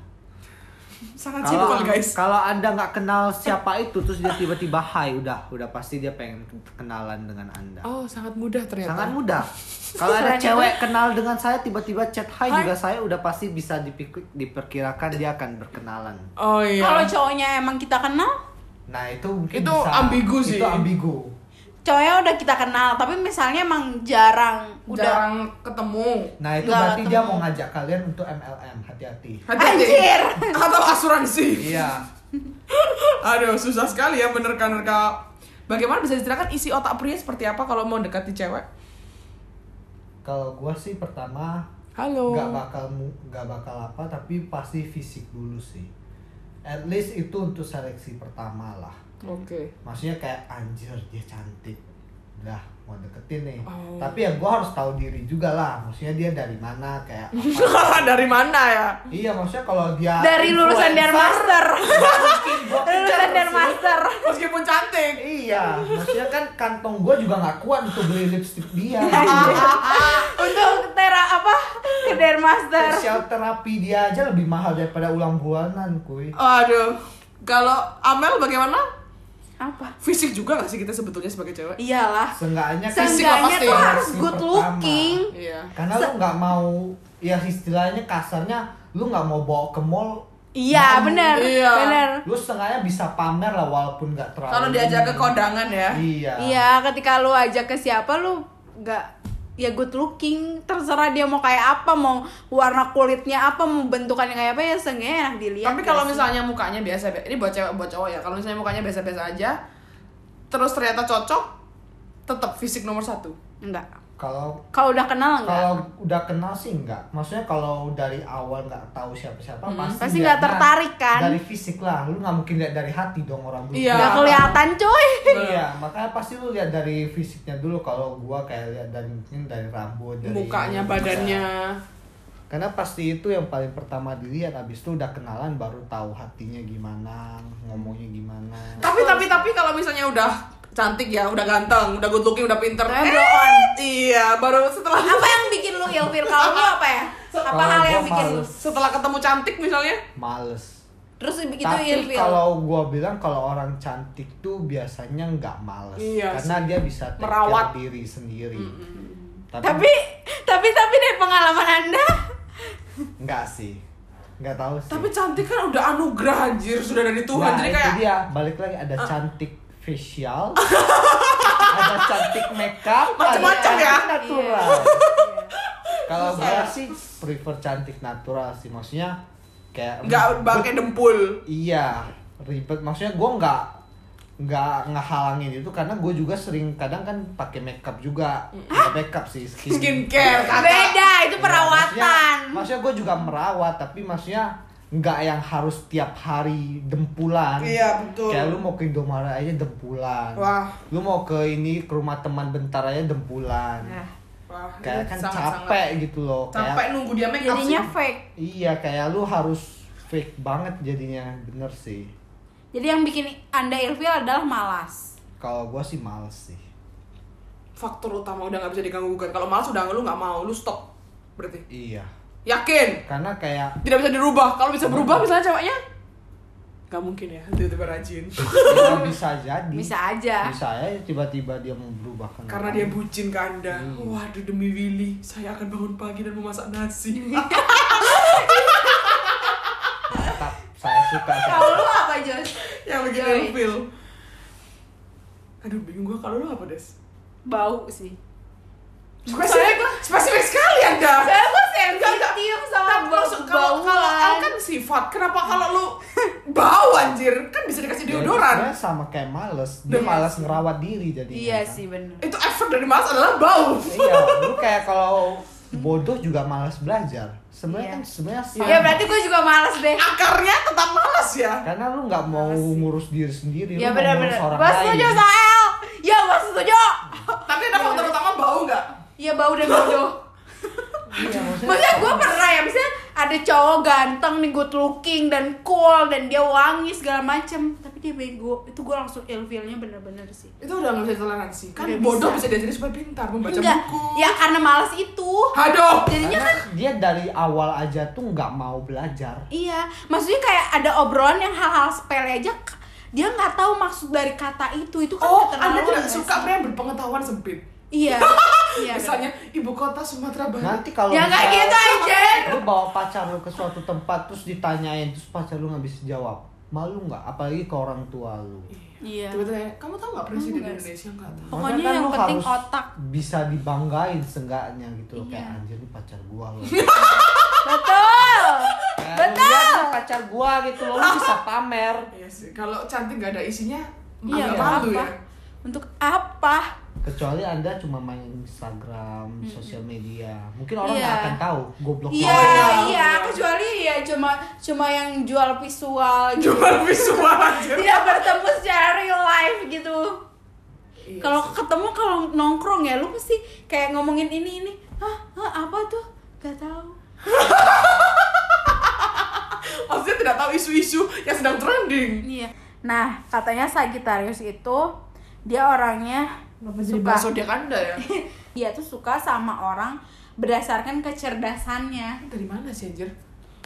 A: Sangat simpel
D: kalau
A: guys.
D: kalau anda nggak kenal siapa itu terus dia tiba-tiba hai udah udah pasti dia pengen kenalan dengan anda
A: Oh, sangat mudah ternyata.
D: sangat mudah kalau ada
B: Soalnya-
D: cewek kenal dengan saya tiba-tiba chat
A: ya.
D: hai
A: Hai.
D: juga saya udah pasti bisa dipik- diperkirakan dia akan berkenalan
A: Oh iya.
B: Kalau cowoknya emang kita kenal,
D: nah itu mungkin
A: Itu
D: bisa.
A: ambigu sih.
D: itu ambigu
B: cowoknya udah kita kenal, tapi misalnya emang jarang, udah
A: jarang ketemu.
D: nah itu
B: Nggak
D: berarti dia
B: ketemu.
D: mau ngajak kalian untuk MLM hati-hati
A: Hati-hati.
B: Anjir.
A: Atau asuransi.
D: iya
A: Aduh, susah sekali ya bener kan Kak. Bagaimana bisa diceritakan isi otak pria seperti apa kalau mau dekati cewek?
D: kalau gua sih pertama
A: Halo.
D: nggak bakal mu- nggak bakal apa tapi pasti fisik dulu sih at least itu untuk seleksi pertama lah
A: Oke.
D: maksudnya kayak anjir dia cantik udah mau deketin nih
A: Oh.
D: tapi ya gua harus tahu diri juga lah maksudnya dia dari mana kayak apa
A: Dari mana ya?
D: iya maksudnya kalau dia
B: dari lulusan
D: influencer,
B: Dharma Master.
D: gua kejar
B: lulusan
D: sih.
B: Dharma Master.
A: Meskipun cantik.
D: iya maksudnya kan kantong gua juga nggak kuat untuk beli lipstick dia
B: Iya, Untuk tera apa? Ke Dharma Master.
D: Facial terapi dia aja lebih mahal daripada ulang bulanan kuy
B: Oh,
A: Aduh. Kalau Amel bagaimana?
B: Apa?
A: Fisik juga gak sih kita sebetulnya sebagai cewek?
B: Iyalah.
D: Seenggaknya kan
A: Fisik
B: Seenggaknya
A: pasti
B: tuh
A: ya,
B: harus
D: seleksi
B: good
D: pertama.
B: looking.
A: Iya.
D: karena lu nggak mau ya istilahnya kasarnya lu nggak mau bawa ke mall
B: Iya, bener.
A: Iya.
B: Bener.
D: lu setengahnya bisa pamer lah walaupun nggak terlalu
A: Kalau diajak ke kondangan ya.
D: iya
B: Iya, ketika lu ajak ke siapa lu nggak ya good looking terserah dia mau kayak apa mau warna kulitnya apa mau bentukannya kayak apa ya seenggaknya enak dilihat
A: Tapi kalau
B: nggak iya sih?
A: misalnya mukanya biasa, ini buat cewek buat cowok ya. Kalau misalnya mukanya biasa-biasa aja, terus ternyata cocok, tetap fisik nomor satu.
B: enggak
D: kalau
B: kalau udah kenal enggak
D: kalau udah kenal sih enggak maksudnya kalau dari awal nggak tahu siapa siapa
B: Hmm,
D: pasti
B: Pasti nggak
D: liatnya
B: tertarik, kan?
D: dari fisik lah lu nggak mungkin lihat dari hati dong orang dulu
A: Iya.
B: nggak kelihatan coy
D: iya makanya pasti lu lihat dari fisiknya dulu kalau gua kayak lihat dari mungkin dari rambut dari
A: Mukanya, badannya.
D: Iya. karena pasti itu yang paling pertama dilihat habis itu udah kenalan baru tahu hatinya gimana ngomongnya gimana
A: Tapi tapi tapi kalau misalnya udah cantik ya, udah ganteng, udah good looking, udah pinter.
B: Eh,
A: Eh,
B: blow on.
A: iya, baru setelah
B: apa yang bikin lu ilfil kalau lu apa ya apa
D: Kalau
B: hal
D: gua
B: yang bikin lu
D: males.
A: setelah ketemu cantik misalnya.
D: males
B: terus
A: Gitu,
B: begitu
D: tapi
B: ilfil
D: kalau gua bilang kalau orang cantik tuh biasanya nggak males
A: Iya
D: karena dia bisa take care
A: Merawat.
D: diri sendiri tapi
B: tapi tapi tapi dari pengalaman anda
D: nggak sih nggak tahu sih
A: Tapi cantik kan udah anugerah anjir, sudah dari Tuhan.
D: nah,
A: Jadi
D: itu
A: kayak Ah.
D: dia balik lagi ada cantik facial ada cantik makeup ada
A: Macem-macem ya.
D: cantik natural kalau gua sih prefer cantik natural sih maksudnya kayak
A: nggak pakai dempul.
D: Iya, ribet. Maksudnya gue nggak nggak ngehalangin itu karena gue juga sering kadang kan pakai makeup juga Nggak makeup sih skin
A: Skincare, kakak.
B: beda itu
D: Iya,
B: perawatan
D: maksudnya, maksudnya gue juga merawat tapi maksudnya nggak yang harus tiap hari dempulan
A: Iya, betul.
D: Kan kayak lu mau ke Indomaret aja dempulan
A: Wah.
D: lu mau ke ini ke rumah teman bentar aja dempulan
B: Nah,
A: Wah, ini
D: kayak kan
A: sangat-sangat
D: capek gitu loh
A: Capek
D: kayak
A: nunggu dia make up
B: jadinya
A: sih.
B: fake
D: iya kayak lu harus fake banget jadinya bener sih
C: Jadi yang bikin Anda ilfil adalah malas.
D: kalau gua sih males sih
A: Faktor utama udah nggak bisa diganggu gugat. Kalau malas udah lu nggak mau, lu stop. Berarti
D: iya
A: yakin
D: karena kayak
A: tidak bisa dirubah. Kalau bisa berubah misalnya ceweknya nggak mungkin ya tiba-tiba rajin
D: ya bisa jadi
C: Bisa aja.
D: bisa aja tiba-tiba dia mau berubah
A: karena dia bucin ke anda waduh demi Willy saya akan bangun pagi dan memasak nasi
D: tetap saya suka
B: Kalau lu apa Jos?
A: yang bikin
B: Joy.
A: ilfil aduh bingung gua kalau lu apa des
C: Bau sih.
A: spesifik spesifik sekali anda
B: Saya gue
A: Enggak,
C: Iya,
A: enggak.
B: kan sensitif sama
A: Tapi
B: bau
A: maksud- kalau kalau L
B: bauan.
A: kan sifat kenapa kalau lu bau anjir kan bisa dikasih
D: Ya
A: deodoran
D: Dia sama kayak males dia
A: Iya
D: malas ngerawat diri kan. jadi
C: Iya sih bener.
A: itu effort dari mas adalah bau
D: iya lu kayak kalau bodoh juga malas belajar sebenarnya
C: Iya.
D: kan sebenarnya sama.
B: Ya berarti gue juga malas deh.
A: akarnya tetap malas ya
D: karena lu nggak mau ngurus diri
C: Iya,
D: sendiri
B: Ya
D: Iya, lu mau
B: benar-benar.
D: ngurus orang
B: Gue setuju
D: lain
B: sama El. Ya gue setuju.
A: tapi ada faktor utama bau nggak
B: Ya bau dan bodoh.
D: Iya, maksudnya-
B: Maksudnya gue pernah ya misalnya ada cowok ganteng nih good looking dan cool dan dia wangi segala macem tapi dia bego itu gue langsung ilfilnya bener-bener sih
A: itu udah nggak bisa ditoleransi kan
B: Nggak
A: bodoh
B: bisa.
A: bisa, diajarin supaya pintar membaca
B: enggak
A: buku
B: ya karena malas itu
A: aduh
B: jadinya
D: Karena
B: kan
D: dia dari awal aja tuh nggak mau belajar
B: iya maksudnya kayak ada obrolan yang hal-hal sepele aja k- dia nggak tahu maksud dari kata itu itu kan
A: oh
B: keterlaluan
A: anda tidak
B: nggak
A: suka
B: sih?
A: pria yang berpengetahuan sempit
B: iya iya
A: misalnya ibu kota Sumatera Barat
D: nanti kalau
B: ya nggak
D: misalnya
B: gitu aja
D: lu bawa pacar lu ke suatu tempat terus ditanyain terus pacar lu nggak bisa jawab malu nggak apalagi ke orang tua lu
C: Iya.
A: tiba-tiba tanya, kamu tahu nggak presiden Indonesia nggak tahu
C: Pokoknya
D: Makanya kan
C: yang
D: lu
C: penting
D: harus
C: otak.
D: bisa dibanggain seenggaknya gitu loh. kayak
C: Iya.
D: anjir ini pacar gua loh
B: betul
D: betul pacar gua gitu loh lu bisa pamer
A: Iya sih, kalau cantik nggak ada isinya,
C: Iya,
A: agak
C: nggak
A: malu
C: apa.
A: ya.
B: untuk apa
D: kecuali anda cuma main Instagram sosial media mungkin orang nggak
C: Iya.
D: akan tahu goblok
B: Iya,
D: banget.
A: iya,
B: iya,
A: iya.
B: kecuali ya cuma cuma yang jual visual gitu.
A: Cuma visual aja.
B: Tidak bertemu secara real life gitu.
A: Iya
B: Kalau
A: sih.
B: ketemu kalau nongkrong ya lu pasti kayak ngomongin ini ini. Hah, hah, apa tuh? Gak tahu.
A: maksudnya tidak tahu isu-isu yang sedang trending.
B: Iya. Nah, katanya Sagittarius itu dia orangnya suka
A: Bahasa dia anda ya.
B: dia tuh suka sama orang berdasarkan kecerdasannya.
A: Dari mana sih anjir?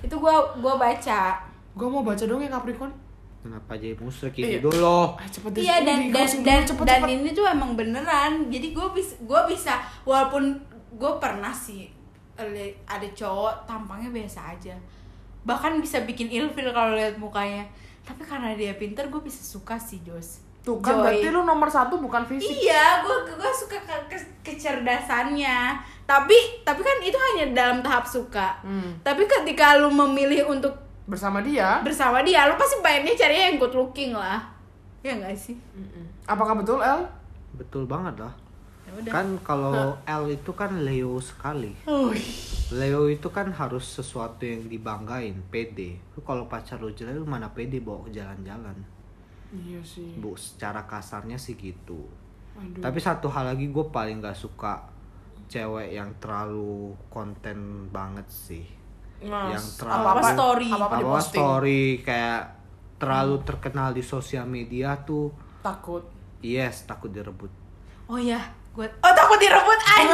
B: Itu gua gua baca.
A: Gue mau baca dong yang Capricorn.
D: kenapa jadi musrik
A: Iya.
D: ini dulu
A: Ah, cepet deh.
B: Iya dan dan
A: Ini closing
B: dan,
A: dulu, cepet,
B: dan
A: cepet.
B: ini tuh emang beneran. Jadi gue bisa gue bisa walaupun gue pernah sih li- ada cowok tampangnya biasa aja. Bahkan bisa bikin ilfil kalau lihat mukanya. Tapi karena dia pinter gue bisa suka sih Jos.
A: Tuh
B: Joy.
A: kan berarti lu nomor satu bukan fisik.
B: Iya, gue gue suka ke- ke- kecerdasannya. Tapi tapi kan itu hanya dalam tahap suka.
A: Hmm.
B: Tapi ketika lu memilih untuk
A: Bersama dia.
B: bersama dia, lu pasti pengennya carinya yang good looking lah. Ya enggak sih?
A: Apakah betul El?
D: betul banget lah
B: Ya udah.
D: kan kalau L itu kan Leo sekali Leo itu kan harus sesuatu yang dibanggain pede lu kalau pacar lu jelek lu mana pede bawa ke jalan-jalan
A: Iya sih.
D: bu secara kasarnya sih gitu
A: Aduh.
D: tapi satu hal lagi gue paling gak suka cewek yang terlalu konten banget sih
A: Nah,
D: yang terlalu
B: apa-apa story.
A: Apa-apa
D: apa-apa
A: diposting.
D: story kayak terlalu terkenal di sosial media tuh
A: Takut.
D: yes takut direbut
B: Oh ya, gue Oh takut direbut anjing.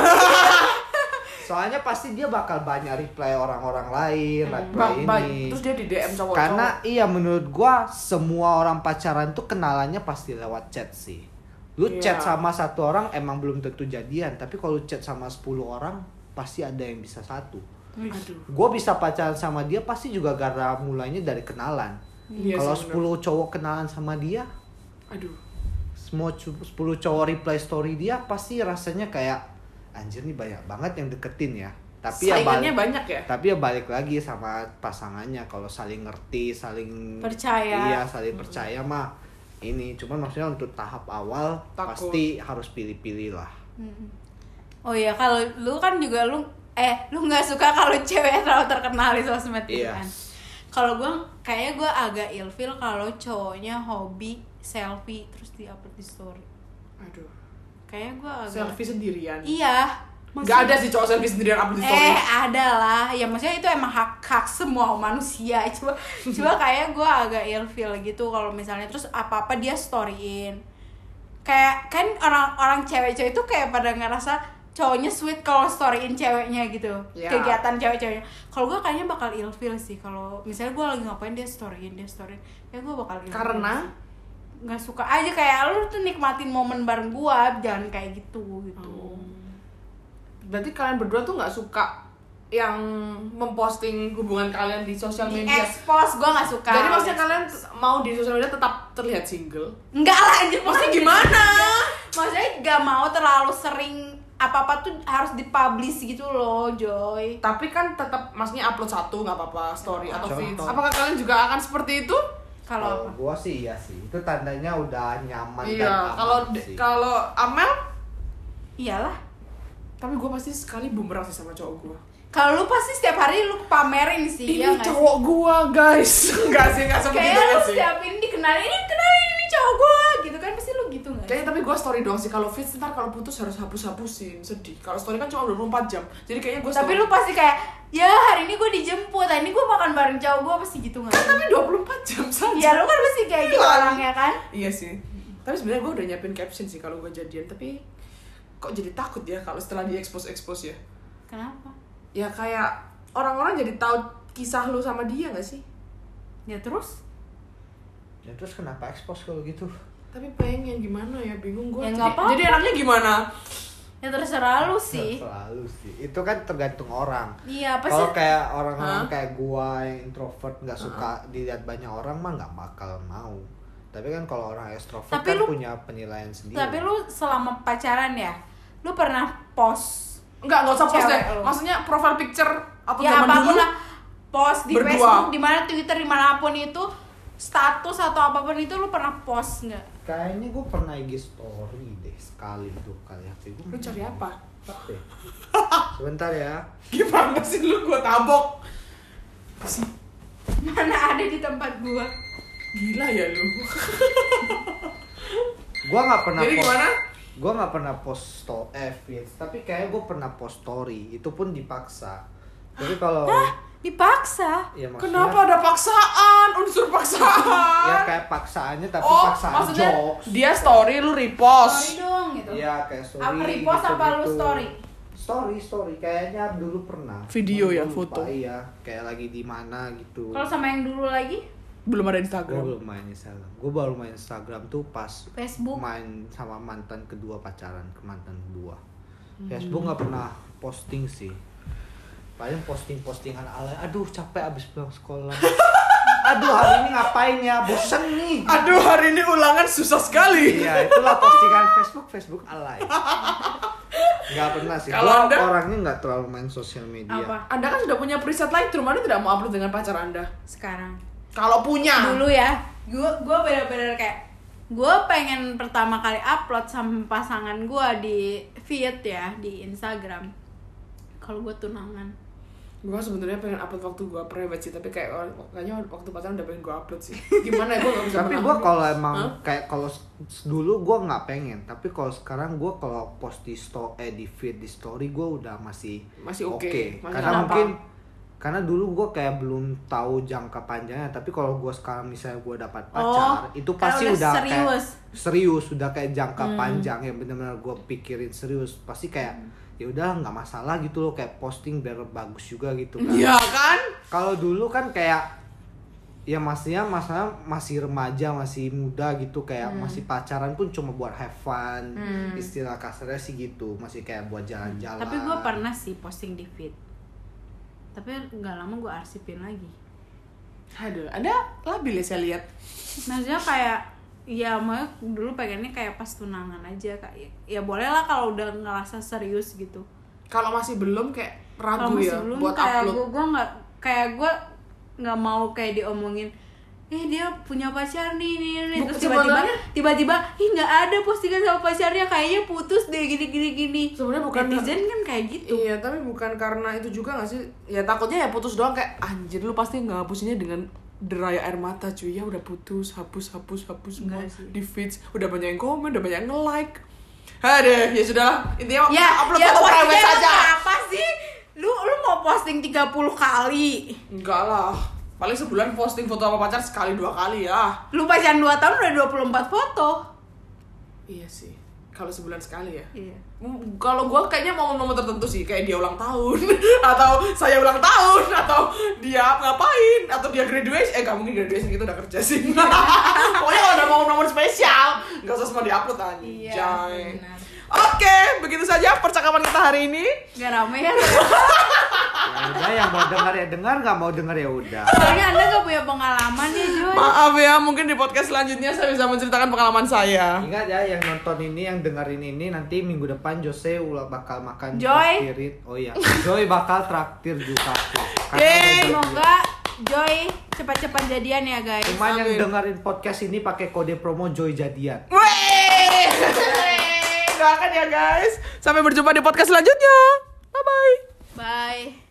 D: soalnya pasti dia bakal banyak reply orang-orang lain reply
A: Hmm. Ba- ba-
D: ini
A: Terus dia di DM cowok.
D: karena iya menurut gua semua orang pacaran tuh kenalannya pasti lewat chat sih lu
A: Iya.
D: chat sama satu orang emang belum tentu jadian tapi kalau lu chat sama 10 orang pasti ada yang bisa satu
A: Aduh.
D: gua bisa pacaran sama dia pasti juga karena mulainya dari kenalan
A: Iya
D: kalau
A: sih,
D: 10 cowok kenalan sama dia
A: Aduh.
D: semua cu- 10 cowok reply story dia pasti rasanya kayak anjir nih banyak banget yang deketin ya tapi ya
A: Saingannya
D: balik
A: banyak ya.
D: tapi ya balik lagi sama pasangannya kalau saling ngerti saling
B: Percaya.
D: iya saling percaya mah ini cuman maksudnya untuk tahap awal
A: Takut.
D: pasti harus pilih-pilih lah
B: Oh ya, kalau lu kan juga lu eh lu nggak suka kalau cewek terlalu terkenal di sosmed gitu
D: Iya.
B: kan. Kalau gue kayaknya gue agak ilfil kalau cowoknya hobi selfie terus di upload di story.
A: Aduh.
B: Kayaknya gue agak
A: Selfie sendirian.
B: Iya.
A: Gak ada sih cowok selfie sendirian upload di story.
B: Eh ada lah, ya maksudnya itu emang hak hak semua manusia. Coba coba kayak gue agak ilfeel gitu kalau misalnya terus apa apa dia storyin. Kayak kan orang orang cewek-cewek itu kayak pada ngerasa cowoknya sweet kalau storyin ceweknya gitu
A: Ya.
B: kegiatan cewek-ceweknya. Kalau gue kayaknya bakal ilfeel sih kalau misalnya gue lagi ngapain dia storyin dia storyin, ya gue bakal ilfeel
A: Karena
B: sih. nggak suka aja kayak lu tuh nikmatin momen bareng gue, jangan kayak gitu gitu.
A: Oh. berarti kalian berdua tuh nggak suka yang memposting hubungan kalian di sosial
B: Di
A: media.
B: expose gue nggak suka.
A: Jadi maksudnya kalian mau di sosial media tetap terlihat single?
B: Enggak lah anjir,
A: Maksudnya gimana?
B: Maksudnya gak mau terlalu sering apa-apa tuh harus dipublish gitu loh, Joy.
A: Tapi kan tetap maksudnya upload satu nggak apa-apa story atau
D: Contoh.
A: feed. Apakah kalian juga akan seperti itu? Oh.
B: Kalau apa?
D: gua sih iya sih. Itu tandanya udah nyaman
A: Iya.
D: dan aman
A: Kalau de-
D: sih.
A: kalau Amel,
B: Iyalah.
A: tapi gue pasti sekali bumerang sih sama cowok gue.
B: Kalau lu pasti setiap hari lu pamerin sih,
A: Ini
B: ya nggak sih?
A: cowok gue guys, nggak sih nggak seperti
B: Kayak
A: itu
B: lu
A: sih.
B: setiap ini dikenalin, ini kenalin ini cowok gua gitu kan pasti lu gitu nggak? sih?
A: Kayaknya tapi gue story doang sih, kalau feed ntar kalau putus harus hapus-hapusin, sedih Kalau story kan cuma 24 jam, jadi kayaknya gue
B: Tapi lu pasti kayak ya hari ini gua dijemput, hari ini gua makan bareng cowok gua pasti gitu nggak? sih?
A: Tapi 24 jam saja
B: Ya lu kan pasti kayak gitu
A: Iya.
B: orangnya kan?
A: Iya sih. Tapi sebenarnya gue udah nyiapin caption sih kalau gue jadian, tapi kok jadi takut ya kalau setelah di expose expose ya.
B: Kenapa?
A: Ya kayak orang-orang jadi tahu kisah lu sama dia gak sih?
B: Ya terus?
D: Ya terus kenapa expose kalau gitu?
A: Tapi pengen gimana ya bingung gue.
B: Ya,
A: jadi,
B: nggak apa-apa.
A: jadi anaknya gimana?
B: Ya terserah lu sih.
D: Selalu sih. Itu kan tergantung orang.
B: Iya, pasti
D: Kalau kayak
A: Hah?
D: orang-orang kayak gua yang introvert nggak suka dilihat banyak orang mah nggak bakal mau. Tapi kan kalau orang ekstrovert
B: Tapi lu-
D: kan punya penilaian sendiri.
B: Tapi lu selama pacaran ya, lu pernah post
A: Enggak, nggak usah post
B: Cewek
A: deh.
B: lu.
A: Maksudnya profile picture atau
B: ya
A: zaman
B: apapun
A: dulu.
B: lah, post di
A: Berdua.
B: Facebook, di mana Twitter, dimanapun itu status atau apapun itu lu pernah post nggak?
D: Kayaknya gue pernah IG story deh sekali tuh kali hati gue.
A: Lu cari apa?
D: Sebentar ya.
A: Gimana sih lu gue tabok? Sih,
B: Mana ada di tempat gua?
A: gila ya lu.
D: Gua nggak pernah
A: jadi
D: post.
A: gimana?
D: Gua nggak pernah post sto- eh feeds, tapi kayaknya gue pernah post story. Itu pun dipaksa. Tapi kalau
B: Dipaksa.
D: ya maksudnya
A: Kenapa ada paksaan? Unsur paksaan.
D: ya kayak paksaannya tapi
A: oh,
D: paksaan
A: maksudnya
D: jokes.
A: dia story lu
B: Sorry
A: repost.
B: dong gitu.
D: Iya kayak story.
B: Apa repost apa lu
D: gitu-gitu.
B: story?
D: Story story kayaknya dulu pernah.
A: Video
D: Cuman
A: ya,
D: gua lupa,
A: foto.
D: Iya, kayak lagi di mana gitu.
B: Kalau sama yang dulu lagi
A: Belum ada
D: Gue
A: Instagram.
D: belum main Instagram. Gue baru main Instagram tuh pas
B: Facebook.
D: main sama mantan kedua pacaran ke mantan kedua.
B: Hmm.
D: Facebook nggak pernah posting sih. Paling posting-postingan ala, aduh capek abis pulang sekolah. aduh hari ini ngapain ya, bosen nih.
A: Aduh, hari ini ulangan susah sekali.
D: Iya, itulah postingan Facebook Facebook alay. Nggak pernah sih.
A: Kalau
D: Kalau
A: Anda-
D: orangnya nggak terlalu main sosial media.
B: Apa?
A: Anda kan sudah punya preset Lightroom, Anda tidak mau upload dengan pacar Anda.
B: Sekarang.
A: Kalau punya.
B: dulu ya gue gue bener-bener kayak gue pengen pertama kali upload sama pasangan gue di feed ya di Instagram kalau gue tunangan
A: Gue sebenarnya pengen upload waktu gue private sih, tapi kayak or- kayaknya waktu pacaran udah pengen gue upload sih. Gimana ya gue gak bisa.
D: Tapi
A: menang.
D: gue kalau emang
A: Hah?
D: kayak kalau s- dulu gue nggak pengen, tapi kalau sekarang gue kalau post di sto eh di feed di story gue udah masih
A: Masih oke. Masih
D: Karena
A: kenapa?
D: mungkin karena dulu gue kayak belum tahu jangka panjangnya, tapi kalau gue sekarang misalnya gue dapat
B: Oh,
D: pacar, itu
B: karena
D: pasti
B: udah
D: udah
B: serius.
D: kayak serius, udah kayak jangka panjang yang benar-benar gue pikirin serius, pasti kayak ya udah nggak masalah gitu loh kayak posting biar bagus juga gitu kan
A: Iya kan?
D: kalau dulu kan kayak ya maksudnya masalah masih remaja masih muda gitu kayak
B: Hmm.
D: masih pacaran pun cuma buat have fun istilah kasarnya sih gitu masih kayak buat jalan-jalan
B: tapi gue pernah sih posting di feed tapi nggak lama gue arsipin lagi
A: Aduh, Anda labil ya saya lihat.
B: maksudnya kayak ya makanya dulu pengennya kayak pas tunangan aja kayak ya boleh lah kalau udah ngerasa serius gitu
A: Kalau masih belum kayak
B: kalau
A: ragu
B: masih
A: ya
B: belum
A: buat
B: kayak
A: upload.
B: gue gue nggak kayak gue nggak mau kayak diomongin eh dia punya pacar nih nih nih
A: Bu,
B: terus tiba-tiba
A: sebenarnya-
B: tiba-tiba ih nggak ada postingan sama pacarnya kayaknya putus deh gini gini gini
A: Sebenarnya bukan-
B: netizen kan kayak gitu
A: Iya, tapi bukan karena itu juga gak sih? Ya takutnya ya putus doang kayak anjir lu pasti ngapusinnya dengan deraya air mata cuy ya udah putus hapus hapus hapus semua
B: Nggak sih.
A: di feeds udah banyak yang komen udah banyak yang like Aduh, ya sudahlah. Intinya
B: ya,
A: upload
B: ya
A: foto
B: maksudnya
A: private
B: emang
A: saja.
B: Apa sih? Lu lu mau posting 30 kali.
A: Enggak lah. Paling sebulan posting foto sama pacar sekali dua kali ya.
B: Lu pacaran 2 tahun udah 24 foto.
A: Iya sih. Kalau sebulan sekali ya.
B: Iya.
A: M- Kalau gua kayaknya momen-momen tertentu sih, kayak dia ulang tahun atau saya ulang tahun atau dia ngapain atau dia graduation. Eh, gak mungkin graduation kita udah kerja sih.
B: Iya.
A: Pokoknya kalau ada momen-momen spesial, gak usah semua diupload anjay.
B: Iya, benar.
A: Oke, begitu saja percakapan kita hari ini.
B: Gak rame ya.
D: Ya udah yang mau dengar ya dengar, nggak mau dengar ya udah.
B: Soalnya Anda gak punya pengalaman ya, Jun.
A: Maaf ya, mungkin di podcast selanjutnya saya bisa menceritakan pengalaman saya.
D: Ingat ya yang nonton ini, yang dengerin ini nanti minggu depan Jose ulah bakal makan
B: Joy.
D: traktirin. Oh iya, Joy bakal traktir juga. Karena
A: Yeay,
D: mau
B: Semoga Joy cepat-cepat jadian ya, guys.
D: Cuma yang
A: Amin.
D: dengerin podcast ini pakai kode promo Joy Jadian.
A: Weh! Doakan ya guys. Sampai berjumpa di podcast selanjutnya. Bye bye.
B: Bye.